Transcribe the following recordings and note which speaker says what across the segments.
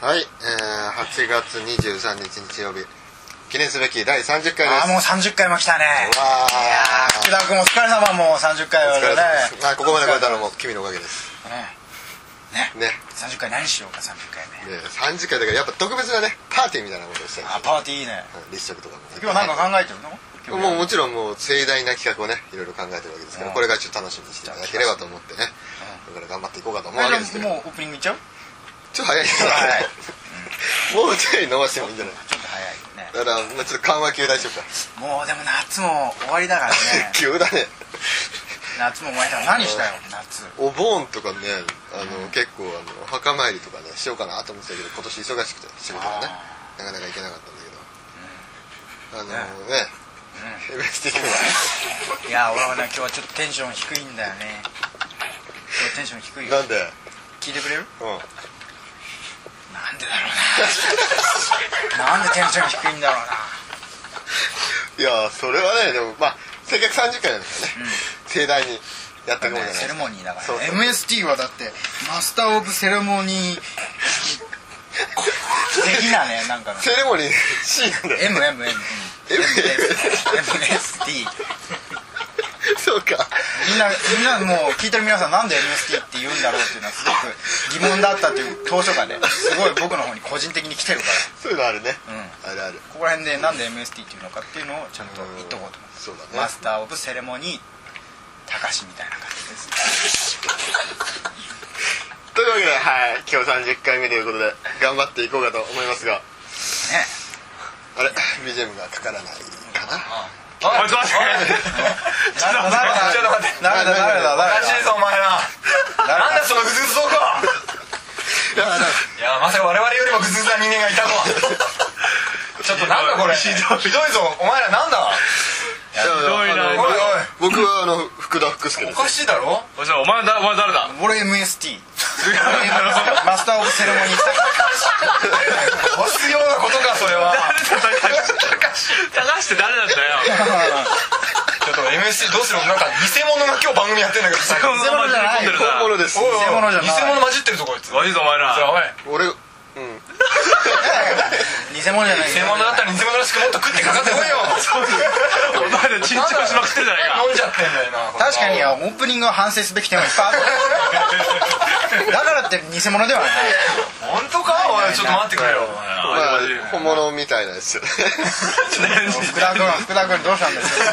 Speaker 1: はい、えー、8月23日日曜日記念すべき第30回です
Speaker 2: ああもう30回も来たね
Speaker 1: うわー
Speaker 2: いやー福田君お疲れ様もう30回
Speaker 1: お
Speaker 2: は
Speaker 1: 疲れ
Speaker 2: ね
Speaker 1: 様ですあここまで来れたのも君のおかげです
Speaker 2: ねね
Speaker 1: ね
Speaker 2: 30回何しようか30回ね
Speaker 1: で30回だからやっぱ特別なねパーティーみたいなことをしたい
Speaker 2: あパーティーいいね
Speaker 1: 立食とかもね
Speaker 2: 今日なんか考えてるの今
Speaker 1: も
Speaker 2: 日
Speaker 1: うもちろんもう盛大な企画をねいろいろ考えてるわけですから、
Speaker 2: うん
Speaker 1: これからちょっと楽しみにしていただければと思ってね、これから頑張っていこうかと思うわけですけど
Speaker 2: もうオープニングいっちゃう
Speaker 1: ちょっと早いです
Speaker 2: ちょっと早い
Speaker 1: もうちょい伸ばしてもいいんじゃない
Speaker 2: ちょっと早いね
Speaker 1: だから、まあ、ちょっと緩和級大丈夫か
Speaker 2: もうでも夏も終わりだからね
Speaker 1: 急だね
Speaker 2: 夏も終わりだから何したよ夏
Speaker 1: お盆とかねあの、結構あのお墓参りとかねしようかなと思ってたけど今年忙しくて仕事がねなかなか行けなかったんだけど、あのねヘベスティ君
Speaker 2: いや俺はね今日はちょっとテンション低いんだよね今日テンション低いよ
Speaker 1: はなんで、
Speaker 2: 聞いてくれる
Speaker 1: うん、
Speaker 2: なんでだろうななんでテンション低いんだろうない
Speaker 1: やそれはねでもまあせっかく30回なんだからね、盛大にやっていこうじゃない
Speaker 2: セレモニーだから
Speaker 1: そう
Speaker 2: ね
Speaker 1: そう
Speaker 2: MST はだってマスター・オブ・セレモニー的なねなんかの
Speaker 1: セレモニー C なんだよ
Speaker 2: MMMMST MST
Speaker 1: そうか
Speaker 2: みんなみんなもう聞いてる皆さんなんで MST って言うんだろうっていうのはすごく疑問だったという当初がねすごい僕の方に個人的に来てるから
Speaker 1: そういうのあるね、
Speaker 2: う
Speaker 1: あるある
Speaker 2: ここら辺でなんで MST っていうのかっていうのをちゃんと言っとこうと思って
Speaker 1: そうだね
Speaker 2: マスター・オブ・セレモニー高しみたいな感じです
Speaker 1: というわけではい今日30回目ということで頑張っていこうかと思いますが
Speaker 2: ね
Speaker 1: あれ BGM がかからないかな
Speaker 3: おいちょっと待って
Speaker 2: なるほどなるほど
Speaker 3: ちょっと待って
Speaker 2: なるほどなるほどなる
Speaker 3: お
Speaker 2: ほど
Speaker 3: かしいぞお前らなんだそのグズグズトークはい
Speaker 1: やだ
Speaker 3: いやまさか我々よりもグズグズな人間がいたとはちょっとなんだこれひどいぞお前らなんだ
Speaker 1: いやあの
Speaker 3: おいおい
Speaker 1: 僕はあの福田福助
Speaker 3: お
Speaker 1: です
Speaker 3: かしいだろ
Speaker 4: おいお前だお前誰だ
Speaker 2: 俺 MST マスター・オブ・セレモニー
Speaker 3: 押すようなことかそれは
Speaker 4: 高橋って誰なんだよ
Speaker 3: ちょっと MSC どうするなんか偽物が今日番組やってんだけどさおいおい
Speaker 4: お前ずり込んでる
Speaker 1: 本物
Speaker 4: な
Speaker 1: です
Speaker 3: 偽
Speaker 2: 物じゃない
Speaker 3: 物混じってるぞこいつ
Speaker 4: 悪いぞお
Speaker 3: お
Speaker 4: 前ら
Speaker 3: い
Speaker 1: 俺うん
Speaker 2: 偽物じゃない
Speaker 3: 偽物だったら偽物らしくもっと食ってかかってこいよ
Speaker 4: お前らチンチンしまくってるじゃないか
Speaker 3: 飲んじゃってんだよな
Speaker 2: 確かにオープニングは反省すべき点はいっぱいあるだからって偽物ではない
Speaker 3: 本当かおいちょっと待ってくれよ
Speaker 1: まあ本物みたいなんですよね
Speaker 2: 福田君福田君どうしたんですか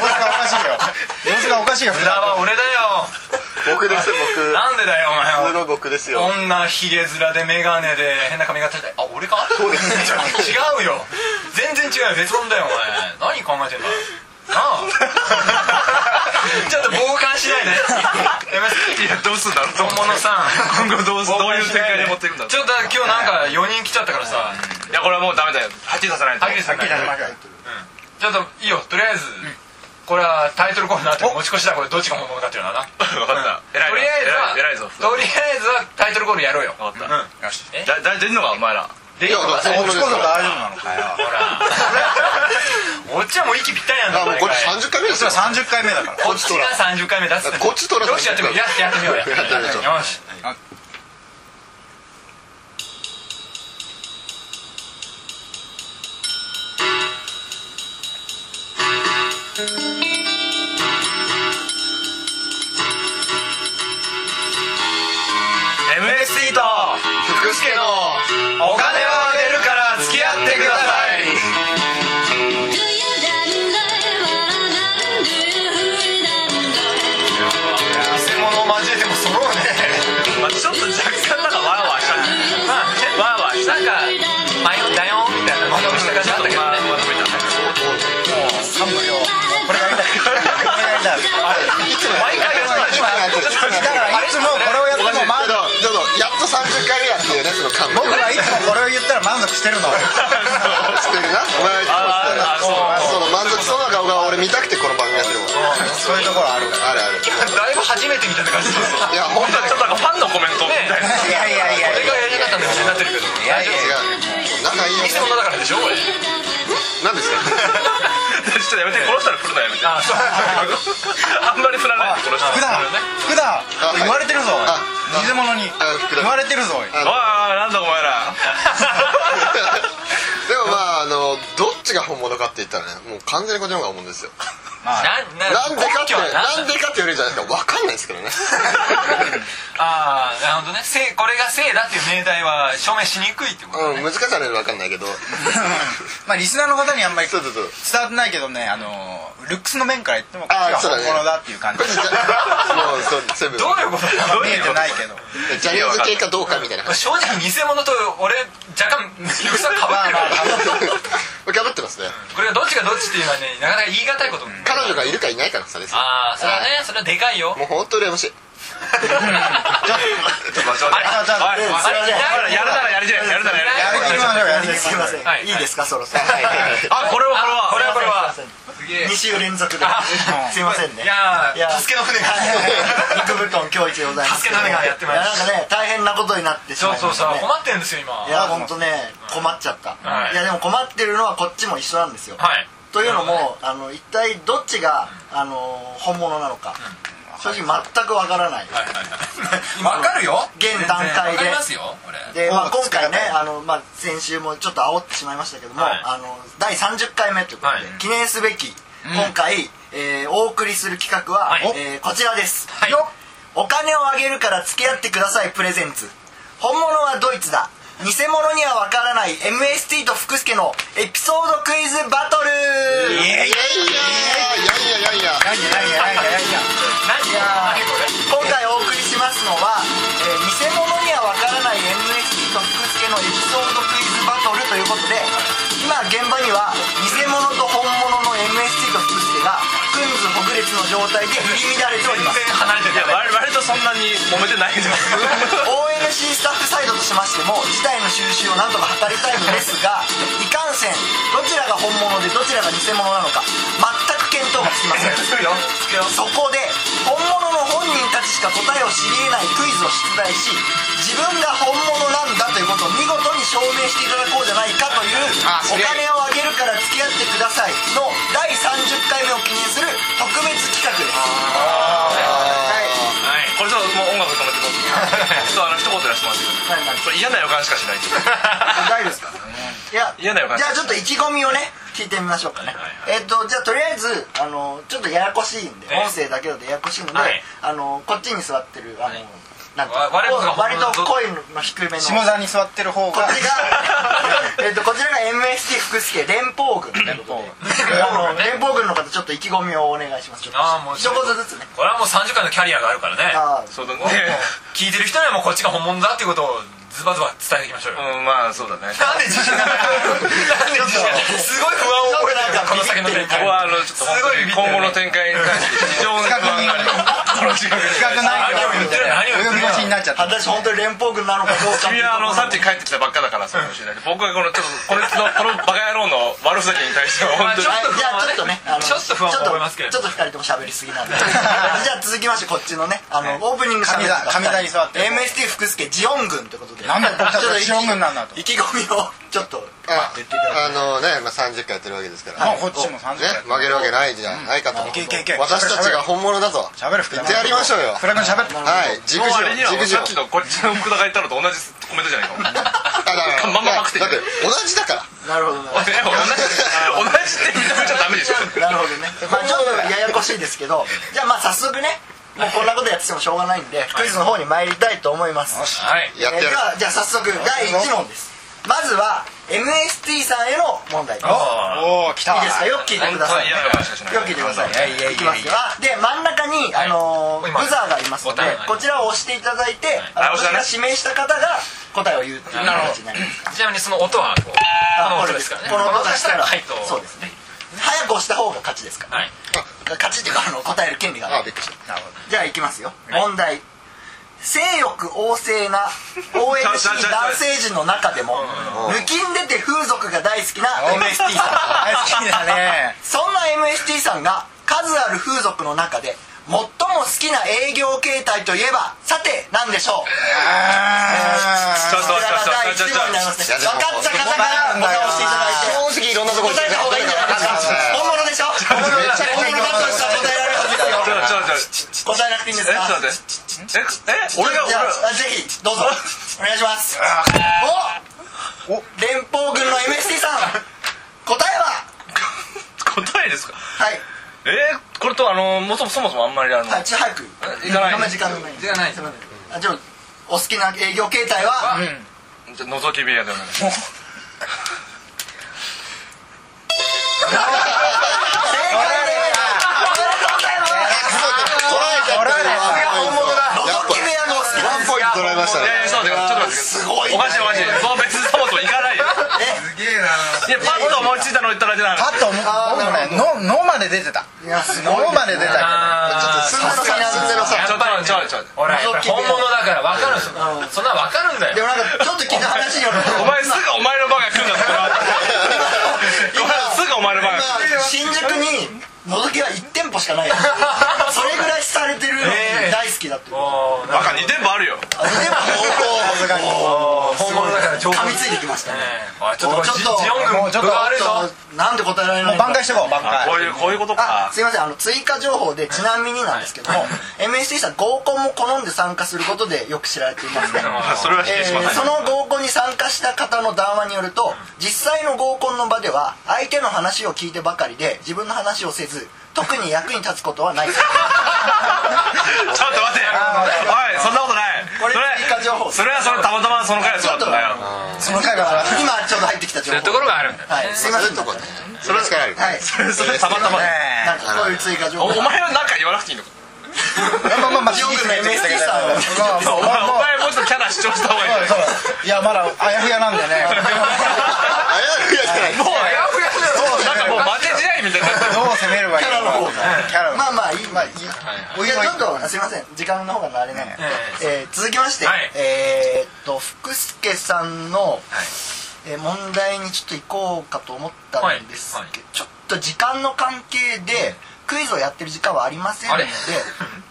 Speaker 2: 様子がおかしいよ様子がおかしいよ福
Speaker 3: 無駄
Speaker 2: 田
Speaker 3: は俺だよ
Speaker 1: 僕です僕
Speaker 3: なんでだよお
Speaker 1: 普
Speaker 3: 前
Speaker 1: 通
Speaker 3: は
Speaker 1: の僕ですよ
Speaker 3: 女ひげ面で眼鏡で変な髪型であ俺か
Speaker 1: うですね
Speaker 3: 違うよ全然違うよ別論だよお前何考えてんだなあちょっと傍観しないでやめて
Speaker 4: いやどうすんだろう
Speaker 3: 本物さん
Speaker 4: 今後どうすどういう展開に持っていくんだろう
Speaker 3: ちょっと今日なんか4人来ちゃったからさ
Speaker 4: いやこれはもうダメだよはっきりさせないと
Speaker 3: はっきりさせ ない
Speaker 4: はっきり
Speaker 3: ちょっといいよとりあえずこれはタイトルコールになって持ち越しだこれどっちが本物かっていうのはな
Speaker 4: させない分かった偉い
Speaker 3: とりあえずは
Speaker 4: な偉い偉いぞ
Speaker 3: とりあえずはタイトルコールやろうよ
Speaker 4: 分かった
Speaker 2: よし
Speaker 3: え
Speaker 4: だ出んのかお前ら
Speaker 3: でいいのか
Speaker 1: いや
Speaker 2: こっちこそ大丈夫なのかよ
Speaker 3: ほらおっちはもう息ぴったりなんだ
Speaker 1: あもうこれ
Speaker 3: 毎回
Speaker 1: 30回目です
Speaker 2: そ
Speaker 1: よ
Speaker 2: れ30回目だから
Speaker 3: こっちが30回目出す
Speaker 1: こっちとら
Speaker 3: よしやってみようやってやってみようや
Speaker 1: やってみましょう
Speaker 3: よし
Speaker 1: 福助の
Speaker 3: お金はあげるから付き合ってください
Speaker 5: Do you then know what I'm doing?
Speaker 3: 偽物を交えても揃うね
Speaker 4: まあちょっと若干なんかわらわらしたね
Speaker 3: まあね
Speaker 4: わらわらした
Speaker 3: なんか「迷ったよ」みたいなまとめした感じだったけどね
Speaker 4: まとめた
Speaker 2: 3分よこれがいいんだこれがいいんだ
Speaker 1: いつも毎
Speaker 3: 回やって
Speaker 1: つも
Speaker 3: ない
Speaker 1: やってない
Speaker 2: だからいつもこれを
Speaker 1: お
Speaker 2: やって
Speaker 1: かしい
Speaker 2: も満
Speaker 1: け
Speaker 2: 足
Speaker 1: どちょっとやっと30回目やっていうねその感
Speaker 2: 僕
Speaker 1: 覚
Speaker 2: はいつもこれを言ったら満足してるの
Speaker 1: してるなお前
Speaker 4: ああそ
Speaker 1: その
Speaker 4: う
Speaker 1: 満足そうな顔が俺見たくてこの番組やってるもん
Speaker 2: そういうところある
Speaker 1: あるある
Speaker 3: だいぶ初めて見たって感じそうそう
Speaker 1: いや本当に
Speaker 4: ちょっとなんかファンのコメントみたいない
Speaker 2: やいやいや
Speaker 3: 俺がやりたかったんだけどなってるけど
Speaker 2: いやいや
Speaker 1: 違う仲いいよ
Speaker 3: 偽物だからでしょこれ
Speaker 1: なんですか
Speaker 4: ちょっとやめてこの人ら振るのやめて
Speaker 3: あそう
Speaker 4: あんまり振らないでこの人
Speaker 2: 福田福田
Speaker 1: はい
Speaker 2: 言われてるぞおい
Speaker 1: あ
Speaker 2: 偽物に
Speaker 1: あ福田
Speaker 2: 言われてるぞおい
Speaker 4: おいおいなんだお前ら
Speaker 1: ちが本物かって言ったらねもう完全にこっちの方が本物ですよ
Speaker 2: まあ
Speaker 3: なんな
Speaker 1: なんでかっ
Speaker 3: 根
Speaker 1: て
Speaker 3: 拠は何
Speaker 1: なんでかって言われるじゃないですか分かんないですけどね
Speaker 3: ああなるほどねせいこれが性だっていう命題は証明しにくいってことだ
Speaker 1: うん
Speaker 3: ね、
Speaker 1: 難しさね分かんないけど
Speaker 2: まあリスナーの方にあんまり
Speaker 1: そう
Speaker 2: 伝
Speaker 1: そうそう
Speaker 2: わってないけどねあのルックスの面から言ってもこ
Speaker 1: あ
Speaker 2: っ
Speaker 1: ー
Speaker 2: ちが本物だっていう感 じ
Speaker 1: これじゃもうそう全部
Speaker 3: どういうことだろう
Speaker 2: 見えてない けど
Speaker 1: ジャニーズ系かどうかみたいな話
Speaker 3: 正直偽物と俺若干ルックスはかぶってる
Speaker 2: まあま あ
Speaker 1: かぶってますね
Speaker 3: これがどっちがどっちっていうのはねなかなか言い難いことも
Speaker 1: 彼女がいるかいないかの差ですよ
Speaker 3: ああそれはねそれはでかいよ
Speaker 1: もう本当羨ましい
Speaker 2: あじゃあうんすいません
Speaker 4: おいおいやるやるならやりじゃやるならや
Speaker 2: やる
Speaker 4: り
Speaker 2: 気満々やる気
Speaker 6: すいません、
Speaker 3: はい
Speaker 6: い、いですかそろそろ、はい
Speaker 4: あこれは
Speaker 3: あこ
Speaker 4: こ
Speaker 3: れ
Speaker 4: れ
Speaker 3: は
Speaker 4: は
Speaker 3: これは
Speaker 6: すいません
Speaker 3: すげえ
Speaker 6: 2週連続で
Speaker 3: あ
Speaker 6: すいませんね
Speaker 3: いや
Speaker 6: いや
Speaker 3: ー助けの船が
Speaker 6: 肉ぶっこん今日一でございます
Speaker 3: 助けの目がやってまいりました
Speaker 6: いやなんかね大変なことになってし
Speaker 3: そ
Speaker 6: ま
Speaker 3: う
Speaker 6: い
Speaker 3: そ
Speaker 6: ま
Speaker 3: う
Speaker 6: し
Speaker 3: そう
Speaker 6: たね
Speaker 3: 困ってるんですよ今はいい
Speaker 6: や本当ね困っちゃった、
Speaker 3: はい
Speaker 6: い、やでも困ってるのはこっちも一緒なんですよ、というのも、あの一体どっちが、あの本物なのか、正直全くわからない、
Speaker 3: はいはいはいわかるよ
Speaker 6: 現段階で
Speaker 3: わかりますよこれ
Speaker 6: で、まあ、今回ね
Speaker 2: 使い
Speaker 6: あの、まあ、先週もちょっと煽ってしまいましたけども、
Speaker 3: はい
Speaker 6: あの第30回目ということで、
Speaker 3: はい
Speaker 6: 記念すべき、今回、えーお送りする企画は、
Speaker 3: はい
Speaker 6: えーこちらです、
Speaker 3: はい
Speaker 6: よっお金をあげるから付き合ってくださいプレゼンツ本物はドイツだ偽物にはわからない MST と福助のエピソードクイズバトル
Speaker 1: いやいやいやいやいや
Speaker 2: やんややんややんややんや
Speaker 3: 何
Speaker 6: いやー
Speaker 3: 何これ
Speaker 6: 今回お送りしますのは、えー偽物にはわからない MST と福助のエピソードクイズバトルということで今現場には偽物と本物の MST と福助がくんずほぐれつの状態で入り乱れております
Speaker 3: 全然離れてる
Speaker 4: いや割割とそんなに揉めてないです
Speaker 6: ONC スタッフサイドとしましても事態の収拾を何とか図りたいのですがいかんせんどちらが本物でどちらが偽物なのか全く見当がつきません
Speaker 3: つくよつくよ
Speaker 6: そこで本物の本人たちしか答えを知り得ないクイズを出題し自分が本物なんだということを見事に証明していただこうじゃないかという
Speaker 2: あす
Speaker 6: お
Speaker 2: げえ
Speaker 6: 金をあげるから付き合ってくださいの第30回目を記念する特別企画です
Speaker 3: は
Speaker 6: はい
Speaker 3: い
Speaker 4: これちょっともう音楽止めて もらってちょっとあの一言やらせてもらっていい
Speaker 6: 何何
Speaker 4: これ嫌な予感しかしない
Speaker 6: 大丈夫ですかいや
Speaker 4: 嫌な予感
Speaker 6: じゃあちょっと意気込みをね聞いてみましょうかね、えっ、とじゃあとりあえずあのちょっとややこしいんで
Speaker 3: ええ
Speaker 6: 音声だけだとややこしいので、
Speaker 3: はい
Speaker 6: あのこっちに座ってるあ
Speaker 3: は
Speaker 6: の、
Speaker 3: い
Speaker 6: なんて
Speaker 3: わ我々が
Speaker 6: 割と声の低めの
Speaker 2: 下座に座ってる方
Speaker 6: こ
Speaker 2: が
Speaker 6: っ ちがえっとこちらが MST 福助連邦軍連邦軍あの連邦軍の方ちょっと意気込みをお願いしますちょっと
Speaker 3: あーもう
Speaker 6: 一言ずつね
Speaker 3: これはもう30回のキャリアがあるからね
Speaker 6: あー
Speaker 4: そうだね
Speaker 3: 聞いてる人にはもうこっちが本物だっていうことをズバズバ伝えていきまし ょうよ、
Speaker 4: うんまあそうだね
Speaker 3: なんで自信がないなんで自信がないすごい不安を覚えてるこの先の展
Speaker 4: こ
Speaker 3: 開
Speaker 4: こはあのちょっと本当に今後の展開に関して非常に不安があります
Speaker 2: 企画内
Speaker 3: 何を言って
Speaker 2: 容
Speaker 3: るの何を言
Speaker 2: 泳
Speaker 3: って
Speaker 2: ぎ
Speaker 3: るの
Speaker 2: 腰になっちゃった
Speaker 6: 果たして本当に連邦軍なのかどうかって
Speaker 4: 君
Speaker 6: いうと
Speaker 4: は
Speaker 6: こ
Speaker 4: あ
Speaker 6: ろ
Speaker 4: のさっき帰ってきたばっかだからそうかもしれないけど僕はこのちょっとこれのこのバカ野郎の悪ふざけに対しては本当に
Speaker 6: はいじゃあちょっとねあの
Speaker 3: ちょっと不安を覚えますけれど
Speaker 6: ちょっとちょっと二人とも喋りすぎなんでじゃあ続きましてこっちのねあのオープニング喋ってた
Speaker 2: 神田神田に座って
Speaker 6: MST 福助ジオン軍ということで
Speaker 2: なんで僕たちがジオン軍なんだと
Speaker 6: 意気込みをちょっと
Speaker 1: あ
Speaker 6: 言っていただき
Speaker 1: あのね、まあ、30回やってるわけですから、
Speaker 2: まあ
Speaker 1: ね
Speaker 2: こっちも30回
Speaker 1: 曲げるわけないじゃないかと、
Speaker 2: うんいけいけいけ
Speaker 1: 私たちが本物だぞ
Speaker 2: 喋る福
Speaker 1: 言
Speaker 2: 田
Speaker 1: ってやりましょうよ
Speaker 2: 福田君喋って
Speaker 1: はい軸
Speaker 4: もうあれには
Speaker 1: 上軸上
Speaker 4: さっきのこっちの福田が言ったのと同じコメントじゃないかも
Speaker 1: あだから
Speaker 4: まんまパクって
Speaker 1: だって同じだから
Speaker 6: なるほどなるほど
Speaker 4: 同じ同じって認めちゃダメでしょ
Speaker 6: なるほどね まあちょっとややこしいですけどじゃあまあ早速ねもうこんなことやっててもしょうがないんでクイズの方に参りたいと思います
Speaker 3: はい
Speaker 1: やって
Speaker 6: え
Speaker 1: や
Speaker 6: ーで
Speaker 1: る
Speaker 6: はじゃあ早速第1問ですまずは MST さんへの問題です
Speaker 3: あ
Speaker 2: おおー来た
Speaker 6: いいですかよく聞いてください
Speaker 4: 嫌な予感しかしない
Speaker 6: よく聞いてください
Speaker 2: いやいやいやいや
Speaker 6: きますよあで真ん中に、あのー
Speaker 3: 今
Speaker 6: ブザーがありますの
Speaker 3: ボタ
Speaker 6: で
Speaker 3: ンがあります
Speaker 6: こちらを押していただいて、
Speaker 4: あ
Speaker 6: あの
Speaker 4: 押したね
Speaker 6: 私が指名した方が答えを言うっていう形になります
Speaker 3: ーちなみにその音はこうこの
Speaker 6: あ
Speaker 3: 音ですからね
Speaker 6: この音がしたら
Speaker 3: はいと
Speaker 6: そうですね早く押した方が勝ちですから、
Speaker 3: はい
Speaker 6: 勝ちっていうかあの答える権利が
Speaker 1: あ
Speaker 6: あ
Speaker 1: びっ
Speaker 6: る
Speaker 1: くりし
Speaker 6: じゃあいきますよ、問題性欲旺盛な ONC 男性陣の中でも抜きんでて風俗が大好きな MST さん
Speaker 2: 大好きだね
Speaker 6: そんな MST さんが数ある風俗の中で最も好きな営業形態といえばさて何でしょう
Speaker 4: ちょっ
Speaker 6: こ
Speaker 4: と
Speaker 6: れが第
Speaker 4: ちょっ
Speaker 6: 1
Speaker 4: とちょっと
Speaker 6: 問になります
Speaker 1: い
Speaker 6: ね
Speaker 1: やでも
Speaker 6: 分かった方からボタンを押していただいて
Speaker 1: た正直いろんなとこ
Speaker 6: 答えた方がいいんじゃないですか本物でしょ本物だとしたら答えられるはずですよ
Speaker 4: ちょっとちょっと
Speaker 6: 答えなくていいんです
Speaker 4: えちょっ
Speaker 6: か
Speaker 4: と待ってええ俺が俺
Speaker 6: じゃ
Speaker 4: が
Speaker 6: あぜひ どうぞお願いしますお
Speaker 2: お
Speaker 6: 連邦軍の MST さん答えは
Speaker 4: のもそもそもそもあんまりあの、
Speaker 6: はい、ちょっと早く
Speaker 4: 行かない
Speaker 6: あんまり時間がない
Speaker 3: 時間ない
Speaker 6: すいませんあじゃあお好きな営業形態は
Speaker 4: じゃあ覗き部屋でお願いします
Speaker 6: 正解ですおめでとうございます
Speaker 1: 捉えちゃったよ
Speaker 2: さすが本物だ
Speaker 1: やっ
Speaker 6: 覗き部屋も好き
Speaker 1: ぱワンポイント捉えましたね
Speaker 4: いやいやそうだよちょっと待って
Speaker 1: すごい
Speaker 4: おかしいおかしいそう別にそもそも行かないよ
Speaker 2: すげえない
Speaker 4: やパッと思いついたの言っただけなの
Speaker 2: パッと思っ
Speaker 6: あー
Speaker 2: 僕
Speaker 6: なる
Speaker 2: ね脳脳まで出てた
Speaker 6: いやすごい
Speaker 2: 脳まで出
Speaker 1: ち
Speaker 2: た
Speaker 1: ょっと
Speaker 3: あ
Speaker 1: すんでのさすんでのさ
Speaker 4: ちょっと待ってちょっと待って
Speaker 3: ーほらやっぱり本物だから分かるんですよ
Speaker 6: うん
Speaker 3: そんなの分かるんだ
Speaker 6: で
Speaker 3: よ
Speaker 6: もなんかちょっと聞いた話によると
Speaker 4: お前すぐお前の番が来るんだってこれはすぐお前の番が来る
Speaker 6: 今新宿に覗きは1店舗しかないよそれぐらいされてるのに大好きだっていう
Speaker 3: おー
Speaker 4: バカ2店舗あるよ
Speaker 6: あ2店舗
Speaker 3: 本物だから情報
Speaker 6: 噛みついてきましたね
Speaker 3: あちょっとこれ
Speaker 6: ちょっ
Speaker 3: ジ
Speaker 6: と
Speaker 3: ジオン軍
Speaker 2: もうちょっと
Speaker 3: 分があるぞ
Speaker 6: なんで答えられないんだ
Speaker 2: 挽回してこう挽
Speaker 4: あ
Speaker 2: 回
Speaker 4: こういうこういうことか
Speaker 6: あすいませんあの追加情報でちなみになんですけども MST さん合コンも好んで参加することでよく知られていますね
Speaker 4: あそれは否定しま
Speaker 6: えー
Speaker 4: せん
Speaker 6: その合コンに参加した方の談話によると実際の合コンの場では相手の話を聞いてばかりで自分の話をせず特に役に立つことはない
Speaker 4: ちょっと待っておいそんなことない
Speaker 6: これ
Speaker 4: そ
Speaker 6: 追加情報
Speaker 4: それはそのたまたまその回はそうだったんだよ
Speaker 2: その回は
Speaker 6: 今ちょっと入ってきた情
Speaker 3: そういうと
Speaker 6: 報
Speaker 3: ころがあるんだよ
Speaker 6: はいすいません
Speaker 1: とこねそれしかない
Speaker 6: はい
Speaker 4: それたまたま
Speaker 6: なんかこういう追加情報
Speaker 4: お前は何か言わなくていいのか
Speaker 2: まあまあまあ
Speaker 6: ジオン軍の MST さん
Speaker 2: まあま
Speaker 4: お
Speaker 2: あ
Speaker 4: 前
Speaker 2: まあ
Speaker 4: お前もうちょっとキャラ主張した方がいい
Speaker 2: そうそういやまだあやふやなんで
Speaker 1: あや
Speaker 2: ね
Speaker 1: ふやじゃない
Speaker 4: もうあやふや
Speaker 2: そう
Speaker 4: なんかもう負け試合みたいになってる
Speaker 2: どう攻めればいい
Speaker 6: キャラの
Speaker 2: の
Speaker 6: 方が
Speaker 2: かキャラの
Speaker 6: まあまあいいまあいい
Speaker 2: お
Speaker 6: い
Speaker 2: 祝い
Speaker 6: やちょっとすいません時間の方があれなんで、えー続きまして、
Speaker 3: はい
Speaker 6: えーっと福助さんの、えー問題にちょっと行こうかと思ったんですけど、
Speaker 3: はいはい
Speaker 6: ちょっと時間の関係でクイズをやってる時間はありませんので
Speaker 3: あれ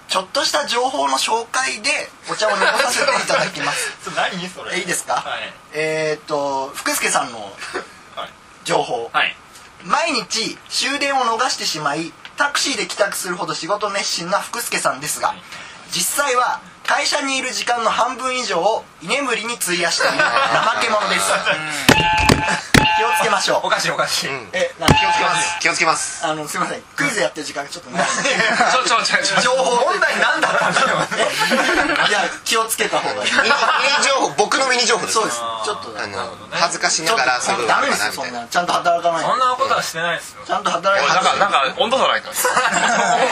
Speaker 6: ちょっとした情報の紹介でお茶を濁させていただきます
Speaker 3: 何そ
Speaker 6: えいいですか、
Speaker 3: はい
Speaker 6: えーっと福助さんの情報、
Speaker 3: はい
Speaker 6: 毎日終電を逃してしまいタクシーで帰宅するほど仕事熱心な福助さんですが実際は会社にいる時間の半分以上を居眠りに費やしている怠け者です気をつけましょう
Speaker 3: おかしいおかしい
Speaker 6: えなんか気をつけます
Speaker 1: 気をつけます
Speaker 6: あのすいませんクイズやってる時間がちょっとないんで
Speaker 4: ちょちょちょちょ
Speaker 6: 情報
Speaker 3: 問題何だったんだよ
Speaker 6: いや気をつけた方がいい
Speaker 1: ミニミニ情報僕のミニ情報です
Speaker 6: そうですちょっと
Speaker 1: あ
Speaker 6: ね
Speaker 1: の恥ずかしながら
Speaker 6: ちょっとダメですよそんなちゃんと働かない
Speaker 3: そんなことはしてないですよ
Speaker 6: ちゃんと働
Speaker 4: なん
Speaker 6: か
Speaker 4: か
Speaker 6: ない
Speaker 4: なんか温度 差ないか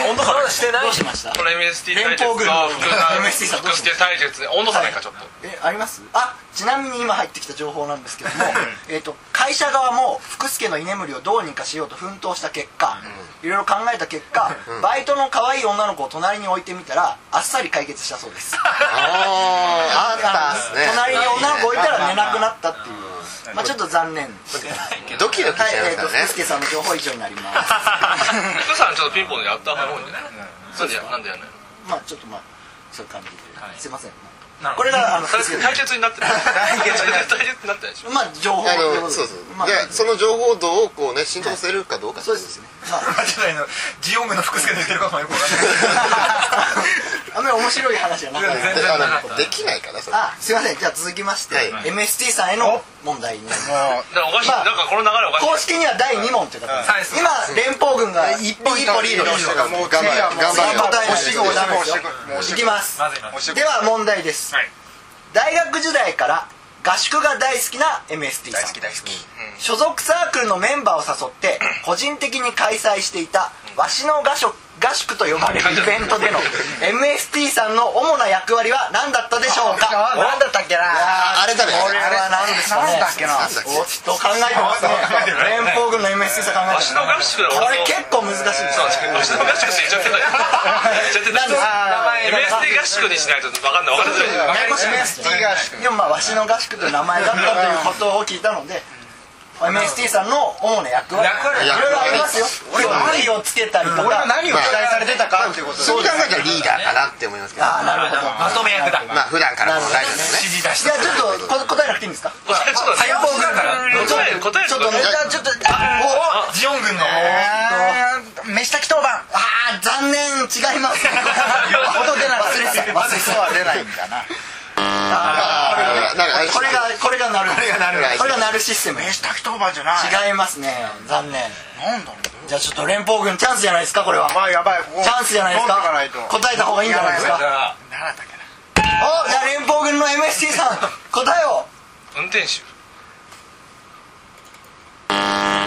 Speaker 3: 温度差してない
Speaker 6: どうしました
Speaker 4: この MST 対決
Speaker 6: 連
Speaker 4: と
Speaker 6: 邦軍の
Speaker 4: 福田
Speaker 6: MST さんどう
Speaker 4: 福
Speaker 6: し
Speaker 4: 助対決で温度差ないかちょっと
Speaker 6: えありますあちなみに今入ってきた情報なんです けどもえーと会社側も福助の居眠りをどうにかしようと奮闘した結果、いろいろ考えた結果、バイトの可愛い女の子を隣に置いてみたらあっさり解決したそうです
Speaker 1: あーあったっすね
Speaker 6: 隣に女の子置いたら寝なくなったっていうまあちょっと残念ですね
Speaker 1: ドキドキし
Speaker 6: はい
Speaker 1: ちゃいます
Speaker 6: えー
Speaker 1: か
Speaker 6: と
Speaker 1: ら
Speaker 6: 福
Speaker 1: ね
Speaker 6: 助さんの情報以上になります
Speaker 4: 福さんちょっとピンポンでやった方がいいんじゃないなんでやなんでやんないの
Speaker 6: まあちょっとまあそういう感じで、
Speaker 3: はい
Speaker 6: すいません
Speaker 3: なんか
Speaker 6: これがあの
Speaker 4: それ
Speaker 6: 福助の
Speaker 4: 対決になってる対決になってないでしょ
Speaker 6: まあ情報
Speaker 1: あ
Speaker 6: とい
Speaker 1: の
Speaker 6: ことで
Speaker 1: そうそう
Speaker 6: まあ
Speaker 1: でその情報度をこうね浸透させるかどうか
Speaker 6: そうですねまあ
Speaker 3: マジでのジオングの福助の言ってることもよくわか
Speaker 6: あんまり面白い話じゃなかっ
Speaker 3: んない
Speaker 6: た
Speaker 3: 全然
Speaker 1: あ
Speaker 3: な
Speaker 1: のできないかなそれ
Speaker 6: あすいませんじゃあ続きまして、
Speaker 1: はい
Speaker 6: MST さんへの問題になります
Speaker 2: もう
Speaker 4: だからおかしい
Speaker 6: まあ
Speaker 4: なんかこの流れおかしい
Speaker 6: 公式には第2問という形
Speaker 3: はい
Speaker 6: です今連邦軍が一歩一歩リードしてます
Speaker 1: もう頑張れ頑張れ
Speaker 6: 頑張れ
Speaker 1: 押していこう
Speaker 6: ダメですよ
Speaker 2: 押してい
Speaker 6: いきます
Speaker 3: まずいまず
Speaker 6: では問題です、
Speaker 4: はい
Speaker 6: 大学時代から合宿が大好きな MST さん
Speaker 2: 大好き
Speaker 6: 所属サークルのメンバーを誘って個人的に開催していたわしの合宿合宿と呼ばれるイベントでの MST さんの主な役割は何だったでしょうか
Speaker 2: なんだったっけな
Speaker 1: あれだね
Speaker 6: これは何ですかね
Speaker 2: なんだっけな
Speaker 6: おっと考えてますね連邦軍の MST さん考えてま
Speaker 4: わ
Speaker 6: す
Speaker 4: し
Speaker 6: ね
Speaker 4: の合宿だろ
Speaker 6: これ結構難しいです
Speaker 4: わ
Speaker 6: ね
Speaker 4: しの合宿して言っちゃってな
Speaker 2: あ
Speaker 4: い言っちゃってない
Speaker 6: 名前
Speaker 4: MST 合宿にしないと分かんない分かんない
Speaker 6: ややこしいですね
Speaker 2: MST 合宿
Speaker 6: でもまあわしの合宿という名前だったということを聞いたので MST さんの主な役割
Speaker 3: 役割
Speaker 6: いろいろありますよ
Speaker 1: 俺は
Speaker 6: 何をつけたりとか
Speaker 2: 俺は何を期待されてたかっていうこと
Speaker 1: そう考えたらリーダーかなって思いますけど
Speaker 6: ああなるほど
Speaker 3: まとめ役だ
Speaker 1: まあ普段からも大事ですね
Speaker 3: 指示出し
Speaker 6: じゃあちょっとこ答えなくていいんですか
Speaker 4: 答えちょっと
Speaker 3: 先方だから
Speaker 4: 答え答え
Speaker 6: ちょっとねじゃあちょっと
Speaker 3: おジオ
Speaker 6: あ
Speaker 2: で
Speaker 3: ン軍の
Speaker 2: 飯炊き当番
Speaker 6: おあー残念違います音出ない忘れてた忘れてた
Speaker 2: は出ないんだな
Speaker 1: あなるあれ
Speaker 6: これがこれがなる
Speaker 1: これがなる
Speaker 6: これがなるシステム
Speaker 2: 名刺滝当番じゃない
Speaker 6: 違いますね残念
Speaker 2: なんだろ
Speaker 6: じゃあちょっと連邦軍チャンスじゃないですかこれは
Speaker 2: うまあやばいここ
Speaker 6: チャンスじゃないですか
Speaker 2: 取っとないと
Speaker 6: 答えた方がいいんじゃないですか
Speaker 2: 何だったっけな
Speaker 6: おじゃあ連邦軍の MST さん答えを
Speaker 4: 運転手
Speaker 6: あ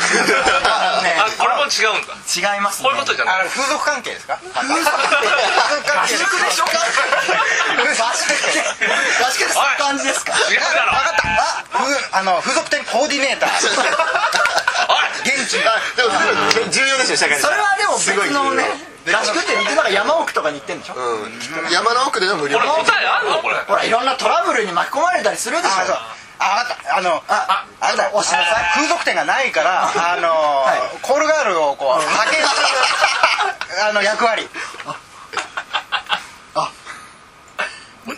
Speaker 6: のね
Speaker 4: あこれも違うんだ
Speaker 6: 違いますね
Speaker 4: こういうことじゃない
Speaker 2: あれ風俗関係ですか
Speaker 6: 風俗合宿でしょ合宿って合宿ってそういう感じですか
Speaker 4: 違うだろ
Speaker 2: 分かったあふあの風俗店コーディネーター現地
Speaker 1: あでもでも重要ですよ社会
Speaker 6: それはでも別のね
Speaker 1: すごい
Speaker 6: 合宿って行ってなんか山奥とかに行ってんでしょ
Speaker 1: うん山の奥での無料
Speaker 4: これ答えあんのこれ
Speaker 6: ほらいろんなトラブルに巻き込まれたりするでし
Speaker 2: あそう
Speaker 6: ょ
Speaker 2: あ分かったあの
Speaker 6: あ
Speaker 2: あ
Speaker 6: あ
Speaker 2: なた
Speaker 6: 押しなさい
Speaker 2: 風俗店がないからあの、
Speaker 6: は
Speaker 2: コールガールをこう派遣するあの役割あ
Speaker 6: 違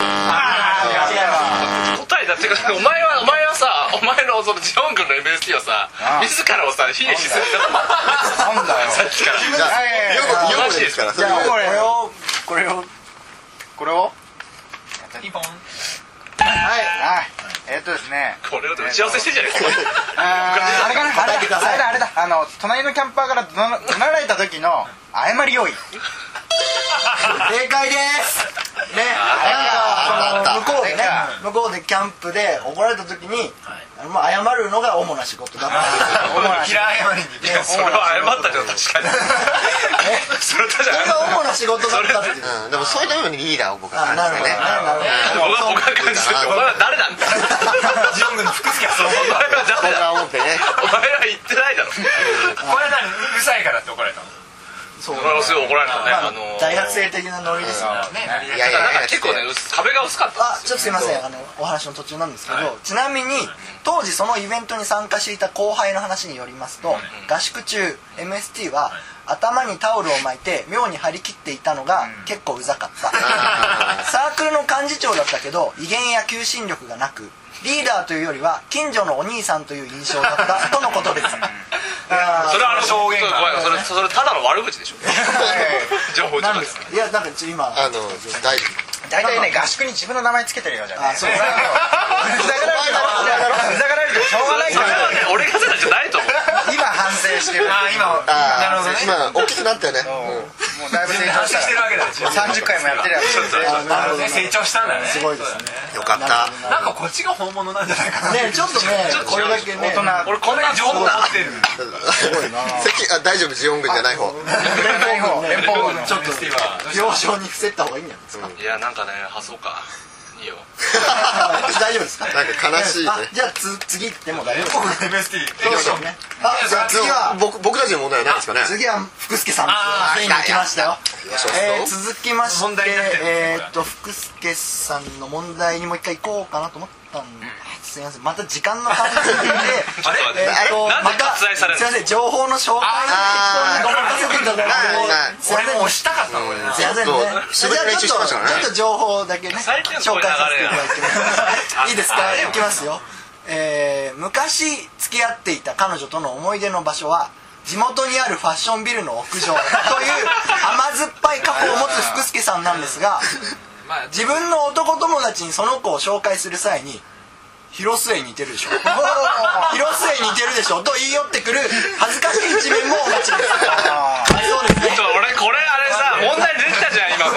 Speaker 6: います
Speaker 4: 答えだってかお前はお前はさお前のそのジオン君の MST をさ
Speaker 2: ああ
Speaker 4: 自らをさ卑下しすぎだと思う
Speaker 2: なんだよ
Speaker 4: さっきから
Speaker 1: じゃあ
Speaker 2: ええ
Speaker 1: 4個4個ですからそれ
Speaker 2: じゃあこ
Speaker 1: は
Speaker 2: れをこれをこれを
Speaker 3: ピンポン
Speaker 2: はいはいえっとですね
Speaker 4: これを打ち合わせしてんじゃねえか
Speaker 2: あーあれかなあ
Speaker 6: 答え
Speaker 2: れ
Speaker 6: てくだ
Speaker 2: だ
Speaker 6: さい
Speaker 2: あれだあれだあの隣のキャンパーから怒鳴怒鳴られた時の誤り用意
Speaker 6: 正解ですね
Speaker 1: あ
Speaker 6: な
Speaker 1: ー
Speaker 6: んか
Speaker 1: あ
Speaker 6: あの
Speaker 1: っ
Speaker 6: 向こうでね
Speaker 2: あっ
Speaker 6: 向こうでキャンプで怒られた時にまあ謝るのが主な仕事だった
Speaker 2: 主な仕事
Speaker 3: 平謝りに
Speaker 4: いやそれは謝ったじゃん確かに それ確
Speaker 6: それ
Speaker 4: か
Speaker 6: が
Speaker 4: に
Speaker 6: 主な仕事だったっていう
Speaker 1: うんでもそういうためにリーダーを僕は
Speaker 6: あな
Speaker 1: 感
Speaker 6: る
Speaker 1: じてね
Speaker 6: ほどねなるほど
Speaker 4: 僕は僕は感じて るお前は誰なんだ
Speaker 3: ジオン軍の福助はそう思
Speaker 4: お
Speaker 3: う
Speaker 4: 前は
Speaker 1: 僕
Speaker 4: 誰だ
Speaker 1: は思ってね
Speaker 4: お前は言ってないだろ
Speaker 3: これは何うるさいからって怒られたの
Speaker 6: そう
Speaker 4: お前はすごい怒られたね
Speaker 6: まあ
Speaker 4: あの
Speaker 6: 大学生的なノリですよね
Speaker 3: ね
Speaker 1: いや
Speaker 4: だ
Speaker 1: い
Speaker 4: から
Speaker 1: や
Speaker 4: なんか結構ね薄壁が薄かった
Speaker 6: あちょっとすいませんあのお話の途中なんですけど、ちなみに当時そのイベントに参加していた後輩の話によりますと、合宿中 MST は、頭にタオルを巻いて妙に張り切っていたのが、結構うざか った
Speaker 1: あ
Speaker 6: サークルの幹事長だったけど威厳や求心力がなくリーダーというよりは近所のお兄さんという印象だったとのことです
Speaker 4: それはあの
Speaker 3: 証言が
Speaker 4: ごめんそれそれただの悪口でし ょ情報
Speaker 6: 何
Speaker 4: 中
Speaker 6: ですかいやなんかちょっと今
Speaker 1: あの大
Speaker 2: 大体ね合宿に自分の名前つけてるようじゃね
Speaker 6: あそうだから
Speaker 2: ふざけられてもふざけられてもしょうがない
Speaker 4: そ
Speaker 2: か
Speaker 4: れは
Speaker 2: ら
Speaker 4: ね俺がせたじゃないと思う
Speaker 2: 今反省してる
Speaker 3: あー今
Speaker 1: あ
Speaker 3: なるほどね
Speaker 1: ー今大きくなったよね
Speaker 2: もう
Speaker 1: うん
Speaker 2: もうだいぶ成長
Speaker 3: 反省
Speaker 2: し
Speaker 3: して る
Speaker 2: た
Speaker 3: わけだよジオン軍
Speaker 2: 30回もやってるやつ
Speaker 6: あ
Speaker 2: で
Speaker 6: なるほど
Speaker 3: ね
Speaker 6: ね
Speaker 3: 成長したんだね
Speaker 6: すごいですね
Speaker 1: よかった
Speaker 3: なんかこっちが本物なんじゃないかな
Speaker 6: ねちょっとねこれだけね
Speaker 2: 大人
Speaker 4: 俺こんな
Speaker 3: 情報持ってる
Speaker 1: 席あ大丈夫ジオン軍じゃない方
Speaker 2: 連邦軍連邦軍の
Speaker 6: ちょっと
Speaker 3: 今どうした
Speaker 6: 幼少に伏せった方がいいんじゃないですか、
Speaker 4: い やなんかねあそうかいいよ
Speaker 6: 大丈夫ですか
Speaker 1: なんか悲しいね
Speaker 6: あじゃあつ次行っても大丈夫です
Speaker 3: 僕 MST
Speaker 6: どうしようねあじゃあ次は
Speaker 1: 僕僕たちの問題はないですかね
Speaker 6: 次は福助さん
Speaker 3: あー
Speaker 6: ついに来ましたよ
Speaker 1: よし
Speaker 6: えー続きまして
Speaker 3: 問題になってる
Speaker 6: えーっと福助さんの問題にもう一回行こうかなと思ったんですいませんまた時間の関係で
Speaker 4: ちょっと待って
Speaker 6: えーっと
Speaker 4: なん
Speaker 6: ま
Speaker 4: で
Speaker 6: た
Speaker 4: 割愛される
Speaker 6: すい
Speaker 4: の
Speaker 6: ません情報の紹介
Speaker 1: あー
Speaker 6: ご任せていただいて
Speaker 1: はいはい
Speaker 6: すいませ
Speaker 3: 俺
Speaker 6: ん
Speaker 3: も押したかったの俺な
Speaker 6: すいません
Speaker 1: ちょっと
Speaker 6: ねじゃ
Speaker 1: すごい
Speaker 6: あ
Speaker 1: 練
Speaker 6: ち
Speaker 1: 習して
Speaker 6: ょ
Speaker 1: ましたから
Speaker 6: っとち
Speaker 1: ね
Speaker 6: ょっと情報だけね
Speaker 4: 最近の
Speaker 6: 紹介させていただきま
Speaker 4: こういう流れや
Speaker 6: すいいですか
Speaker 4: あ
Speaker 6: いきますよえー昔付き合っていた彼女との思い出の場所は地元にあるファッションビルの屋上という甘酸っぱい過去を持つ福助さんなんですが
Speaker 3: まあ
Speaker 6: 自分の男友達にその子を紹介する際に広末に似てるでしょ 広末に似てるでしょと言い寄ってくる恥ずかしい一面もお待ちです
Speaker 2: あ
Speaker 6: あそうですね
Speaker 4: ちょ俺これあれさ問題出てたじゃん今の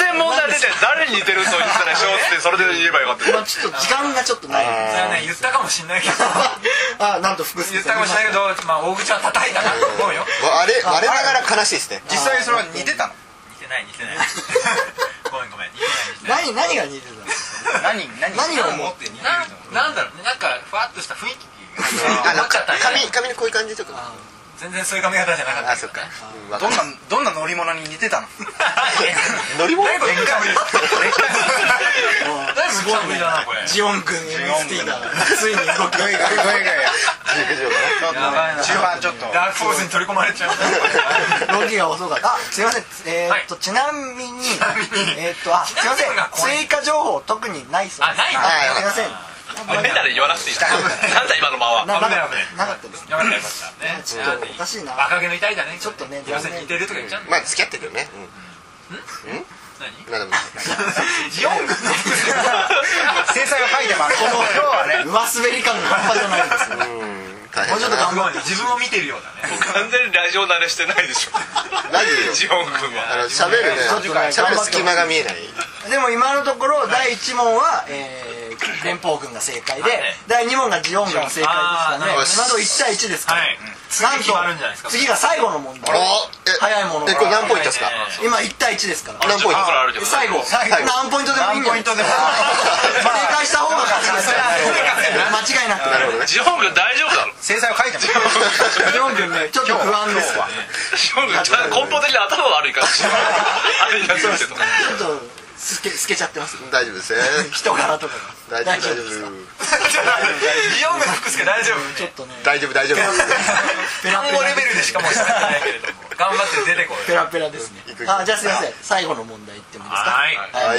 Speaker 4: 全然問題出てない誰に似てると言ってた でしょってそれで言えばよかった
Speaker 6: まあちょっと時間がちょっとない
Speaker 3: それはね言ったかもしん ないけど
Speaker 6: あなんと福助
Speaker 3: 言っ
Speaker 6: さ
Speaker 3: た
Speaker 6: ん
Speaker 3: かもしんないけどまあ大口は叩いたなと思うよ
Speaker 1: わあれ我ながら悲しいですね
Speaker 2: 実際にそれは似てたの
Speaker 3: 似てない似て ないごめんごめん似てない似てない
Speaker 6: 何何が似てたんです
Speaker 2: 何何
Speaker 6: か何を
Speaker 3: 持
Speaker 6: も
Speaker 3: って似てるなんだろうねなんかふわっとした雰囲気
Speaker 1: あ
Speaker 3: が
Speaker 1: の
Speaker 3: っちゃった
Speaker 1: 髪髪のこういう感じとか
Speaker 3: 全然そういう髪型じゃなかった
Speaker 1: あそっかうんわか
Speaker 2: どん
Speaker 1: る
Speaker 2: などんな乗り物に似てた の
Speaker 1: 乗り物
Speaker 3: 何これ無茶ぶりだいぶ無茶ぶりだなこれ
Speaker 6: ジオン君 MST がついに動き
Speaker 2: いやいやいやいや
Speaker 1: 陸上
Speaker 2: ちょっと
Speaker 3: やばいな
Speaker 2: 中盤ちょっと
Speaker 3: ダークフォースに取り込まれちゃう
Speaker 6: 動きが遅かったあすいませんえーっとちなみにえーっとあすいませ
Speaker 3: ちなみにが怖い
Speaker 6: ん追加情報特にないそう
Speaker 3: あ
Speaker 6: です
Speaker 3: ないの
Speaker 6: あすいません
Speaker 4: 変なの言わなくていいなんだ今の間は
Speaker 6: なな
Speaker 3: 危ない危ない
Speaker 6: なかったです
Speaker 3: やばいやばいね
Speaker 6: ちょっとおかしいな
Speaker 3: 若気の至りだね
Speaker 6: ちょっとね
Speaker 3: 要するに似てるとか言っちゃうんだ
Speaker 1: まあ付き合ってるよね何でもない
Speaker 3: ジオングの服装
Speaker 2: 制裁が書いてます
Speaker 6: この今日はね上滑り感が半端じゃないん
Speaker 1: う
Speaker 6: ですよ
Speaker 1: ん大変だな
Speaker 6: もうちょっと頑張
Speaker 3: 自分を見てるようだね
Speaker 4: 完全にラジオ慣れしてないでしょ
Speaker 1: ラジオ
Speaker 4: ジオン君
Speaker 1: あの
Speaker 4: は
Speaker 1: 喋るね
Speaker 6: 途中から
Speaker 1: 喋る隙間が見えない
Speaker 6: でも今のところ第1問は、えー、連邦軍が正解で、
Speaker 3: はい
Speaker 6: 第2問がジオン軍が正解ですから
Speaker 3: あーな
Speaker 6: ね
Speaker 3: るほど
Speaker 6: 今の1対1ですか
Speaker 3: は
Speaker 6: ら、
Speaker 3: い
Speaker 6: なん
Speaker 3: 次決まるんじゃないです
Speaker 6: と
Speaker 3: か
Speaker 6: 次が最後の問題
Speaker 1: おえ
Speaker 6: 早いもの
Speaker 1: え
Speaker 6: が
Speaker 1: これ何ポイントですか
Speaker 3: 早いね
Speaker 6: 今1対1ですから
Speaker 1: 何ポイント
Speaker 4: あるじゃん
Speaker 6: 最後
Speaker 2: 最後
Speaker 6: 何ポイントでもいいん
Speaker 2: 何
Speaker 6: じゃ
Speaker 2: ポ
Speaker 6: な
Speaker 2: イントでも
Speaker 6: いですか正解した方が勝ちです間違いなく
Speaker 1: なるほどね
Speaker 4: ジオン君大丈夫だろ
Speaker 2: 制裁を書いてます
Speaker 6: ジオン軍ねちょっと不安ですわ
Speaker 4: ジオン 君ちゃんと根本的に頭が悪いから悪いやつだけど
Speaker 6: ちょっとすけ透けちゃってます
Speaker 1: 大丈夫ですね
Speaker 6: 人柄とかが
Speaker 1: 大丈夫大丈
Speaker 6: ですか
Speaker 1: 夫
Speaker 3: ジオングの服装大丈夫
Speaker 6: ちょっとね
Speaker 1: 大丈夫大丈夫
Speaker 6: ペラ
Speaker 3: 単
Speaker 6: ペ
Speaker 3: 語レ
Speaker 6: ラ
Speaker 3: ベルでしかもう喋ってないけれども頑張って出てこい
Speaker 6: ペラペラですね
Speaker 1: 行く行く
Speaker 6: あじゃあすいません最後の問題いってもいいですか
Speaker 3: は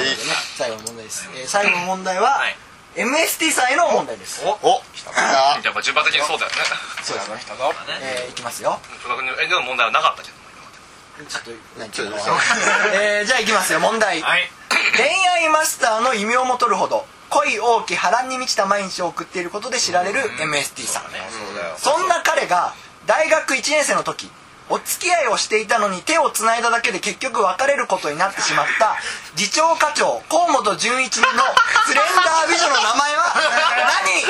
Speaker 1: はい
Speaker 3: い
Speaker 6: なのでね最後の問題です、えー最後の問題は、
Speaker 3: はい
Speaker 6: MST さんへの問題です
Speaker 1: お来た
Speaker 4: やっぱ順番的にそうだよね
Speaker 6: そうですね、えーいきますよ
Speaker 4: 戸田君の問題はなかったけど
Speaker 6: ちょっと何
Speaker 1: ちょっと
Speaker 6: 言ってんの えーじゃあいきますよ問題、
Speaker 3: はい
Speaker 6: 恋愛マスターの異名も取るほど恋多き波乱に満ちた毎日を送っていることで知られる MST さん、そんな彼が大学1年生の時お付き合いをしていたのに手をつないだだけで結局別れることになってしまった次長課長河本純一のスレンダー美女の名前は何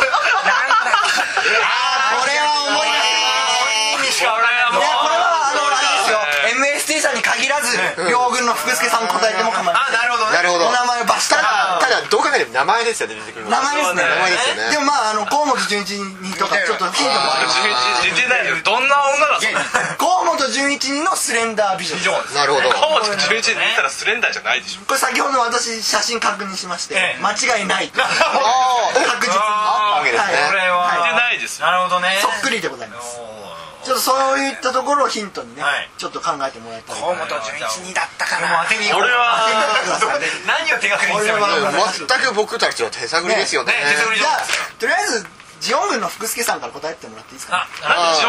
Speaker 6: これは思い出せ
Speaker 3: 意味しかおらんやも
Speaker 6: いうやこれはあのあれですよ MST さんに限らず両軍の福助さん答えても構いま
Speaker 3: あなるほどね
Speaker 1: なるほど
Speaker 6: せんお名前を罰した
Speaker 1: ただ
Speaker 6: ら
Speaker 1: ただどう考えても名前ですよね出てくるの
Speaker 6: 名前ですね
Speaker 1: 名前ですよね
Speaker 6: でもまああの河本純一にとかちょっとヒントもあります
Speaker 4: 似てないよどんな女だそれ
Speaker 6: 河本純一のスレンダー美女です
Speaker 1: なるほど
Speaker 4: 河本純一に似たらスレンダーじゃないでしょ
Speaker 6: これ先ほど私写真確認しまして
Speaker 3: ええ
Speaker 6: 間違いない確
Speaker 1: あー
Speaker 6: 実に
Speaker 1: あったわけですね
Speaker 6: はい
Speaker 3: これ
Speaker 4: 似て
Speaker 3: は
Speaker 4: ないですよ
Speaker 3: なるほどね
Speaker 6: そっくりでございます
Speaker 3: おー
Speaker 6: ちょっとそういったところをヒントにね
Speaker 3: はい
Speaker 6: ちょっと考えてもらえたら
Speaker 2: 河本純一にだったか
Speaker 3: もう
Speaker 2: な
Speaker 3: 当てに行こう
Speaker 4: 俺は
Speaker 6: 当ててくださいね
Speaker 3: 何を手がかりにしてもいい
Speaker 6: 俺は
Speaker 1: 全く僕たちの手探りですよね
Speaker 3: ねね手探り
Speaker 6: じゃあとりあえずジオン軍の福助さんから答えてもらっていいですか
Speaker 3: あ
Speaker 6: ね
Speaker 4: なんでジ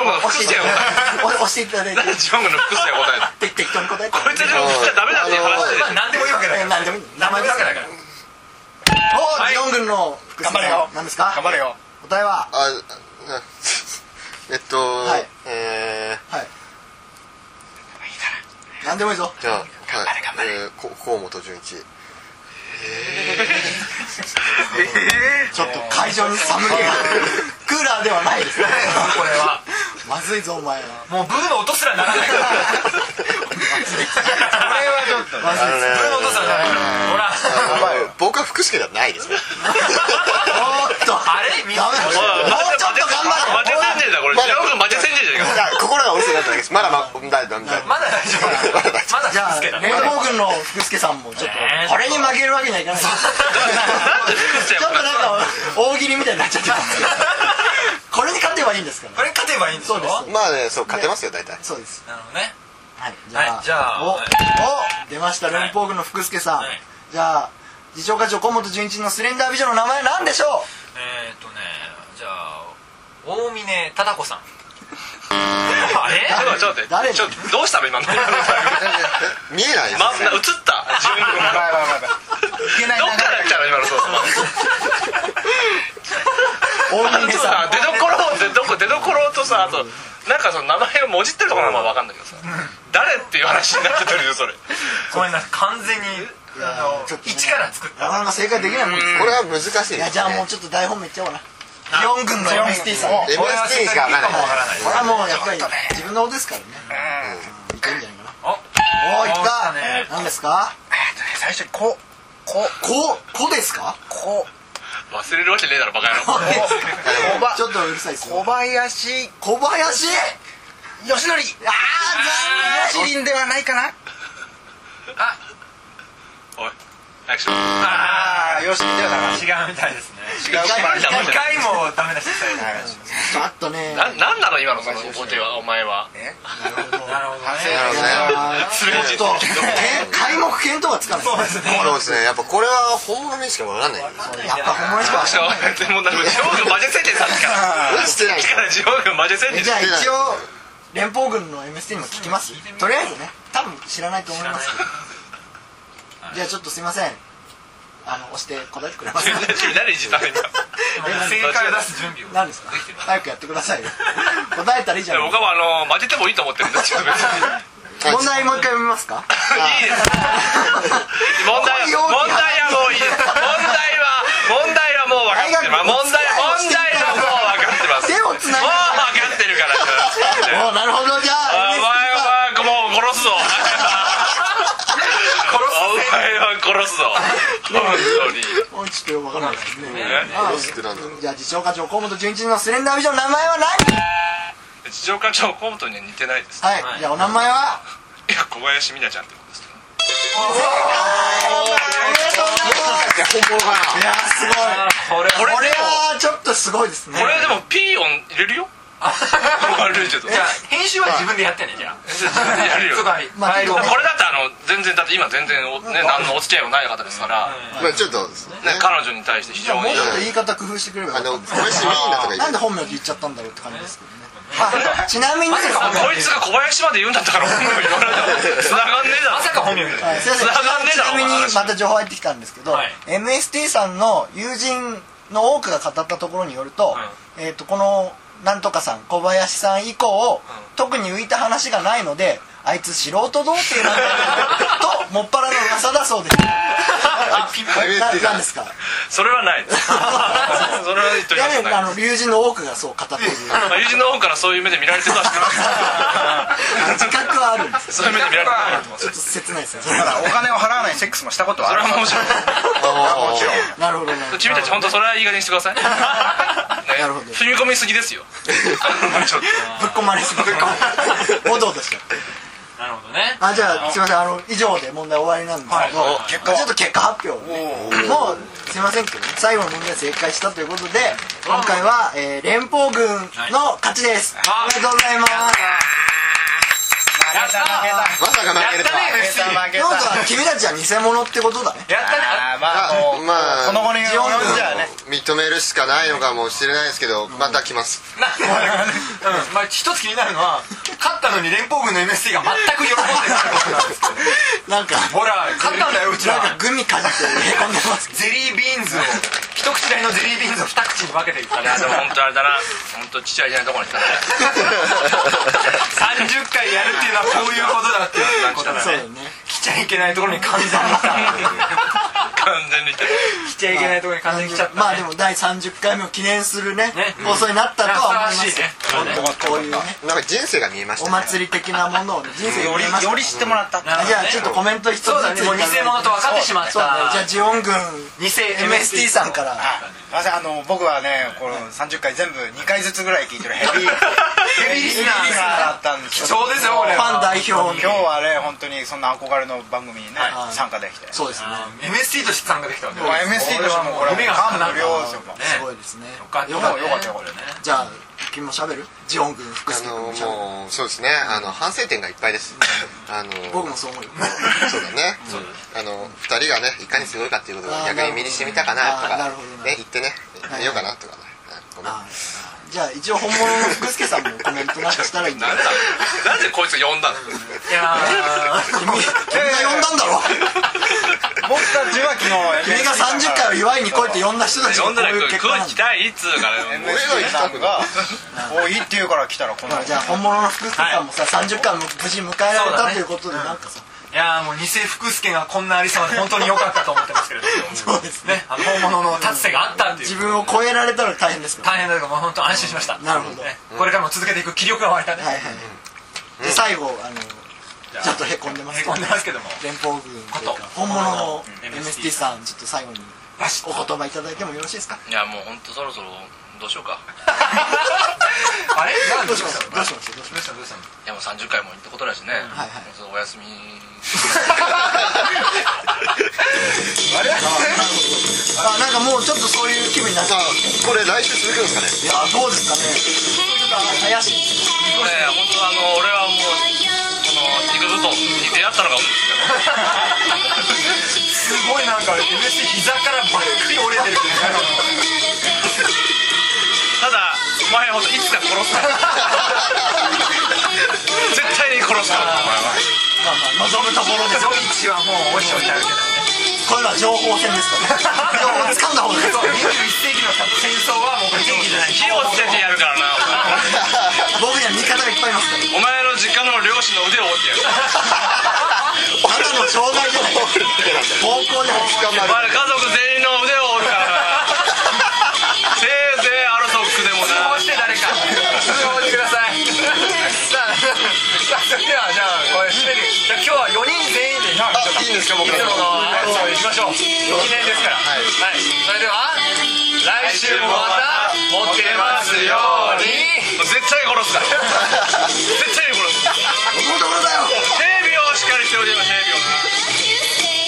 Speaker 4: オン君の
Speaker 6: 押
Speaker 4: 服装や答え
Speaker 6: していただいて押していただいて
Speaker 4: なんでジオン君の服装や答えた
Speaker 6: て適当に答えて
Speaker 4: こいつらの服装はダメだっていう話でしょ
Speaker 3: まあ何でもいいわけだ
Speaker 6: え
Speaker 3: か
Speaker 6: ー
Speaker 3: ら
Speaker 6: 何でもいい名前
Speaker 3: 何でもいいわけだから
Speaker 6: おジオン軍の福助
Speaker 2: 頑張れよ
Speaker 6: さん何ですか
Speaker 2: 頑張れよ
Speaker 6: 答えは
Speaker 1: あな えっと、
Speaker 6: い
Speaker 1: えー
Speaker 6: はい何でもいいぞ
Speaker 1: じゃあ、はい、えー、こ河本純 一。
Speaker 6: ちょっと会場に寒気がクーラーではないですね
Speaker 3: これは
Speaker 6: まずいぞお前は
Speaker 3: もうブーの音すらならないから
Speaker 6: これはちょっとまずい
Speaker 3: ブーの音すらならないほら
Speaker 1: あの僕は福助ではない ですね。
Speaker 6: おーっと
Speaker 3: あれみんな
Speaker 6: ダメだもうちょっと頑張
Speaker 4: マ
Speaker 6: れ
Speaker 4: ジせんじいだこれ
Speaker 1: ま
Speaker 4: ジ
Speaker 1: だ
Speaker 4: オン君マジせんじいじゃねえか
Speaker 1: だ心が折れそうになっただけです。ま だま、だ、だ、だ、
Speaker 3: まだ大丈夫まだ
Speaker 6: じゃあ
Speaker 3: 好きだ
Speaker 6: 連合軍の福助さんもちょっ
Speaker 3: ねえ
Speaker 6: とこれに負けるわけには いかないちょ
Speaker 4: なんで服装や
Speaker 6: っと
Speaker 4: 答え
Speaker 6: なんか大喜利みたいになっちゃってま すけどこれに勝てばいいんですから
Speaker 3: これ勝てばいいんでしょ
Speaker 6: そうです
Speaker 1: まあね、そう、勝てますよ、大体。
Speaker 6: そうです
Speaker 3: なるほどね
Speaker 6: はいじ
Speaker 3: はいじゃあ
Speaker 6: お
Speaker 3: はい
Speaker 6: お出ました連邦軍の福助さん
Speaker 3: はい
Speaker 6: じゃあ次長課長河本純一のスレンダー美女の名前な んでしょう
Speaker 3: えーっとねじゃあ大峰忠子さんあれ
Speaker 4: たちょっと待
Speaker 6: 誰
Speaker 4: ってちょっとどうしたの今の
Speaker 1: 見えないです
Speaker 4: 真ん中映った自分の
Speaker 2: やばいやばいやばいいけない
Speaker 4: どっ
Speaker 2: な
Speaker 4: から来たの今のそうそう
Speaker 6: 大
Speaker 4: あの
Speaker 6: 峰
Speaker 4: そう
Speaker 6: さん
Speaker 4: だ出どころ出どこ出どころとさあとなんかその名前をもじってるところはまあわかんないけどさ誰っていう話になってるよそれ
Speaker 3: ごめんな完全にあの
Speaker 6: ちょっとね
Speaker 3: 一から作った
Speaker 6: なかなか正解できないもんです
Speaker 1: これは難しいです、ね。
Speaker 6: いやじゃあもうちょっと台本めっちゃおうな4軍の MST さん
Speaker 2: お
Speaker 6: こ
Speaker 1: MST しかわからない。
Speaker 6: れはもうやっぱり自分の方ですからねうんいけんじゃないかな
Speaker 3: お
Speaker 6: おおいっ
Speaker 3: お
Speaker 6: た
Speaker 3: 来たね
Speaker 6: 何ですか
Speaker 2: えっとね最初にこうこう
Speaker 6: ここですか
Speaker 2: こ
Speaker 4: 忘れるわけねえだろバカ野郎
Speaker 2: 小ば
Speaker 6: ちょっとうるさいっす
Speaker 2: う小
Speaker 6: よ
Speaker 2: 林
Speaker 6: 小林
Speaker 2: よしのり
Speaker 6: ああ残
Speaker 2: シ
Speaker 6: 念
Speaker 2: リンではないかな
Speaker 4: おい早くしろ
Speaker 2: ああよしではなか
Speaker 3: 違うみたいですね
Speaker 4: 違うバカじゃない
Speaker 3: 2回もダメ出ししたいな
Speaker 6: ちょっとね
Speaker 4: ななんなの今のそのボケはお前は
Speaker 3: なるほどね
Speaker 1: なるほどね。
Speaker 6: ちょっとけ開目見当がつかない
Speaker 3: そうですね
Speaker 1: そうですね。やっぱこれは本物にしかわかんない。
Speaker 6: やっぱ本物しかわかんない
Speaker 4: でもなんかジョー君マジせんじいさっきから
Speaker 1: 映してない。
Speaker 4: だからジョー君マジせんじい
Speaker 6: じゃあ一応連邦軍の MST にも聞きますとりあえずね多分知らないと思いますけどじゃあちょっとすいませんあの押して答えてくれますか
Speaker 4: 何いじったの今
Speaker 3: 正解を出す準備を
Speaker 6: 何ですか
Speaker 3: できてる
Speaker 6: 早くやってください よ答えたらいいじゃない
Speaker 4: 僕はあの混ぜてもいいと思ってるんですよ別に
Speaker 6: 問題もう一回読みますか
Speaker 4: いいです問題
Speaker 6: ここ
Speaker 4: 問
Speaker 6: より
Speaker 4: 題はもういいです問題は問題はもう分かってる
Speaker 6: 大
Speaker 4: 問
Speaker 6: 学
Speaker 4: 題問題はもう分かってます
Speaker 6: 手をつないで
Speaker 4: もう分かってるから
Speaker 6: おおなるほどじゃ
Speaker 4: お
Speaker 6: あ
Speaker 4: 前はもう殺すぞお前は殺すぞ本当に
Speaker 6: もうちょっとよくわからないですね
Speaker 1: ロスってなんだろう
Speaker 6: じゃあ次長課長河本純一のスレンダービジョンの名前は何
Speaker 4: 地上課長コントには似てないです
Speaker 6: はい、じゃあお名前はい
Speaker 4: や小林美奈ちゃんってことですけど
Speaker 1: じゃあ本物かない
Speaker 6: おめでとうございますやす
Speaker 3: こ
Speaker 6: ごい
Speaker 3: れ
Speaker 4: これ
Speaker 6: これ
Speaker 4: でも
Speaker 6: はちょっとすごいですね
Speaker 4: これでもピー音入れるよ入れるけど
Speaker 3: じゃあ編集は自分でやってねじゃあ
Speaker 4: やるよ
Speaker 3: そうかフ
Speaker 6: ま
Speaker 3: ァ
Speaker 6: あ
Speaker 3: イルを
Speaker 4: これだってあの全然だって今全然お、ね、何のお付き合いもない方ですから、
Speaker 1: まあちょっとですね
Speaker 4: ね、彼女に対して非常
Speaker 6: も
Speaker 4: に
Speaker 6: うちょっと言い方工夫してくれば
Speaker 1: あの
Speaker 6: よかったんです
Speaker 1: 小林メインだとか言って
Speaker 6: なんで本名聞いちゃったんだろうって感じですけどねあ ちなみにですね
Speaker 3: まさか
Speaker 4: こいつが小林まで言うんだったから本名言わ ないだ繋がんねえだろ
Speaker 3: まさか本名みたいな
Speaker 6: はいすいません
Speaker 4: 繋がんねえ
Speaker 6: ち
Speaker 4: だろ
Speaker 6: なみ
Speaker 4: この
Speaker 6: に
Speaker 4: 話
Speaker 6: また情報入ってきたんですけど、
Speaker 3: はい
Speaker 6: MST さんの友人の多くが語ったところによると,、
Speaker 3: は
Speaker 6: えー、とこのなんとかさん小林さん以降、特に浮いた話がないのであいつ素人童貞なんだ ともっぱらの噂だそうです
Speaker 3: ピン
Speaker 1: あ MST
Speaker 6: 何
Speaker 1: さ
Speaker 6: で
Speaker 1: ん
Speaker 6: すか
Speaker 4: それはないです それは言っと
Speaker 6: い
Speaker 4: きま
Speaker 6: や
Speaker 4: す
Speaker 6: ねあ
Speaker 4: ない
Speaker 6: の友人の多くがそう語っている
Speaker 4: まあ友人の方からそういう目で見られてるのは知ってます
Speaker 6: 自覚はあるんです
Speaker 4: けどそういう目で見られてるのは
Speaker 6: ちょっと切ないですねそ
Speaker 2: だ
Speaker 6: れ
Speaker 2: か
Speaker 6: は
Speaker 2: ら お金を払わないセックスもしたことはあ
Speaker 4: それ
Speaker 2: る
Speaker 4: はもうちろ
Speaker 1: あー
Speaker 6: なるほどね
Speaker 4: ん君たち本当それはいい加減にしてください、ね、
Speaker 6: なるほど
Speaker 4: 踏み込みすぎですよちょっと
Speaker 6: ぶっ込まれすぎておどおどしちゃって
Speaker 3: なるほどね
Speaker 6: あじゃあすいませんあの以上で問題終わりなんですけど、
Speaker 2: はい結果は
Speaker 6: ちょっと結果発表をねもうすいませんけどね最後の問題正解したということで今回は、えー連邦軍の勝ちです、
Speaker 3: はい
Speaker 6: おめでとうございます
Speaker 3: やったやっ
Speaker 1: まさか負けると
Speaker 3: た
Speaker 1: は
Speaker 3: ね FC
Speaker 2: 負
Speaker 6: と
Speaker 2: け
Speaker 6: いう
Speaker 2: た
Speaker 6: こと
Speaker 2: 負け
Speaker 6: は君たちは偽物ってことだね
Speaker 3: やったね
Speaker 2: たあーまあもう
Speaker 1: まあ
Speaker 2: この後に
Speaker 6: ジオン軍
Speaker 2: じゃあね
Speaker 1: 認めるしかないのかもしれないですけどまた来ます
Speaker 3: なんでうんまあ一つ気になるのは勝ったのに連邦軍の MSC が全く喜んでないことなんですけど
Speaker 6: なんか
Speaker 3: ほら勝ったんだようち
Speaker 6: なん
Speaker 3: ら
Speaker 6: かグミかじってへこんでますけど
Speaker 3: ゼリービーンズを一口大のゼリービーンズを二口に分けていくか
Speaker 4: いや
Speaker 3: ら
Speaker 4: でも本当あれだな本当ちっちゃいじゃないとこに来たね
Speaker 3: 30回やるっていうのはこういうことだっていうことだ
Speaker 6: そうだ
Speaker 3: ね
Speaker 6: よね
Speaker 3: 来ちゃいけないところに完全にさ
Speaker 4: 完全に来て
Speaker 3: 来ちゃいけないところに完全に来ちゃったね
Speaker 6: まあでも第30回目を記念するね
Speaker 3: ね
Speaker 6: 放送になったとは思いま
Speaker 3: いや
Speaker 6: す
Speaker 3: 素晴らしいね
Speaker 6: こういうね
Speaker 1: なんか人生が見えまし
Speaker 6: お
Speaker 1: たね
Speaker 6: 祭り的なものを人生に
Speaker 2: よ
Speaker 6: 見えまし
Speaker 2: り
Speaker 6: た
Speaker 2: より知ってもらった
Speaker 3: なるほどね
Speaker 6: じゃあちょっとコメント一つずつ
Speaker 3: そうだねもう偽物と分かってしまった
Speaker 6: そうだねじゃあジオン軍
Speaker 3: 偽
Speaker 6: MST さんから
Speaker 2: あすいませんあの僕はねこの30回全部2回ずつぐらい聞いてるヘビーヘビーリスナーだったんですけ
Speaker 3: 貴重ですよこ
Speaker 6: フ
Speaker 3: れ
Speaker 6: ァン代表
Speaker 2: 今
Speaker 6: の
Speaker 2: 日はね本当にそんな憧れの番組にね、
Speaker 6: い
Speaker 2: 参加できて
Speaker 6: そうですね
Speaker 3: あー MST として参加できたわけ
Speaker 2: うわ MST としてもこれ
Speaker 3: 夢が叶った
Speaker 2: 感無量ですよもう
Speaker 6: すごいですね
Speaker 3: よかった
Speaker 6: よ
Speaker 3: よ
Speaker 6: か
Speaker 3: か
Speaker 6: っ
Speaker 3: ったたよかっ
Speaker 6: ね
Speaker 3: たよこれね
Speaker 6: じゃあ君も喋るジオン軍福
Speaker 1: あ
Speaker 6: 助君
Speaker 1: の
Speaker 6: も喋る
Speaker 1: もうそうですねあの反省点がいっぱいですあの
Speaker 6: 僕もそう思うよ
Speaker 1: そうだねあの2人がねいかにすごいかっていうことを
Speaker 6: あー
Speaker 1: 逆に身にしてみたかなと
Speaker 6: なる
Speaker 1: か
Speaker 6: ほどねあーなるほどね
Speaker 1: ね言ってね
Speaker 6: はい
Speaker 1: 見ようかなとかねごめん
Speaker 6: あーじゃあ一応本物の福助さんもコメントなんかしたらいいんじゃ
Speaker 4: な
Speaker 6: なんい
Speaker 4: だなんでこいつ呼んだの
Speaker 3: いやー
Speaker 6: 君君が呼んだんだろ
Speaker 2: 僕たちは昨日
Speaker 6: 君が30回を祝いに来いって呼んだ人たちが
Speaker 4: 呼んだら
Speaker 6: こういう
Speaker 4: 来
Speaker 6: 結果なん
Speaker 4: い
Speaker 6: だ
Speaker 4: 来たいっつうからもう
Speaker 2: MST さんが「 おいい」って言うから来たらこんな
Speaker 6: まあじゃあ本物の福助さんもさ、30回も無事迎えられ
Speaker 3: そう
Speaker 6: た
Speaker 3: だね
Speaker 6: ということでなんかさ
Speaker 3: いやーもう偽福助がこんなありさまで本当に良かったと思ってますけれども
Speaker 6: そうですね
Speaker 3: ねあの本物の達成があったってい
Speaker 6: 自
Speaker 3: う
Speaker 6: 分を超えられたら大変ですけどは
Speaker 3: 大変だけどもう本当安心しました
Speaker 6: なるほど
Speaker 3: ねこれからも続けていく気力が湧いたね
Speaker 6: いはいはいで最後あの
Speaker 3: ゃあ
Speaker 6: ちょっとへこんでま
Speaker 3: へ
Speaker 6: すけど
Speaker 3: こんでますけども
Speaker 6: 連邦軍という
Speaker 3: こと
Speaker 6: か本物の
Speaker 3: うん
Speaker 6: MST さんちょっと最後に
Speaker 3: バシッと
Speaker 6: お言葉いただいてもよろしいですか
Speaker 4: いやもう本当そろそろどうしようか
Speaker 3: あれなんど
Speaker 6: どう
Speaker 3: う
Speaker 6: し
Speaker 3: し
Speaker 6: ま
Speaker 3: ま
Speaker 6: し
Speaker 3: したた
Speaker 6: どうしましたどうし
Speaker 3: どうしたどうした
Speaker 4: いやもう30回も行ったことだしね
Speaker 6: はいはい
Speaker 4: もうちょっとお休み
Speaker 6: ましたあなんかもうちょっとそういう気分になっち
Speaker 1: さ
Speaker 6: ゃう
Speaker 1: あこれ来週続くんですかね
Speaker 6: いやどうですかねちょっと怪しい
Speaker 4: ねえ本当あの俺はもうこの肉布団に出会ったのが
Speaker 3: す
Speaker 4: 本
Speaker 3: ごいなんか MSC 膝からばっくり折れてる
Speaker 4: 当ただお前本当いつか殺すから絶対に殺すからお前は
Speaker 6: まあまあ望むところで
Speaker 3: ゾイチはもうおしおし歩けないね
Speaker 6: こういうのは情報戦ですからね情報掴んだ方がいい
Speaker 3: そう21世紀の戦争はもうこれ正義じゃない
Speaker 4: 火をつけてやるからな
Speaker 6: 僕には味方がいっぱいいますから
Speaker 4: お前お前の実家の両親の腕を折ってやる
Speaker 6: ただの障害じゃない暴行じゃな
Speaker 1: 捕ま
Speaker 6: い
Speaker 4: お
Speaker 1: る
Speaker 4: 前ら家族全員の腕を折るからなせいぜいアルソックでも
Speaker 3: 通報
Speaker 4: な
Speaker 3: して誰か通報してくださいさあさあそれではじゃあこれ締めるじゃあ今日は4人全員でいつも
Speaker 1: あいいんですか僕らの
Speaker 3: のあやつをいきましょう記念ですからはい、それでは来週もまたモテますように
Speaker 4: 絶対殺すから絶対に殺す警備をしっかりしておりま警備を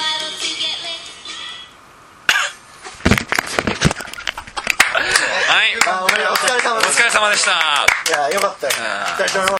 Speaker 3: はい
Speaker 5: Thank
Speaker 6: あお疲れ様で
Speaker 3: お
Speaker 6: す
Speaker 3: 疲れ様でした
Speaker 6: いやよかったよお疲れ様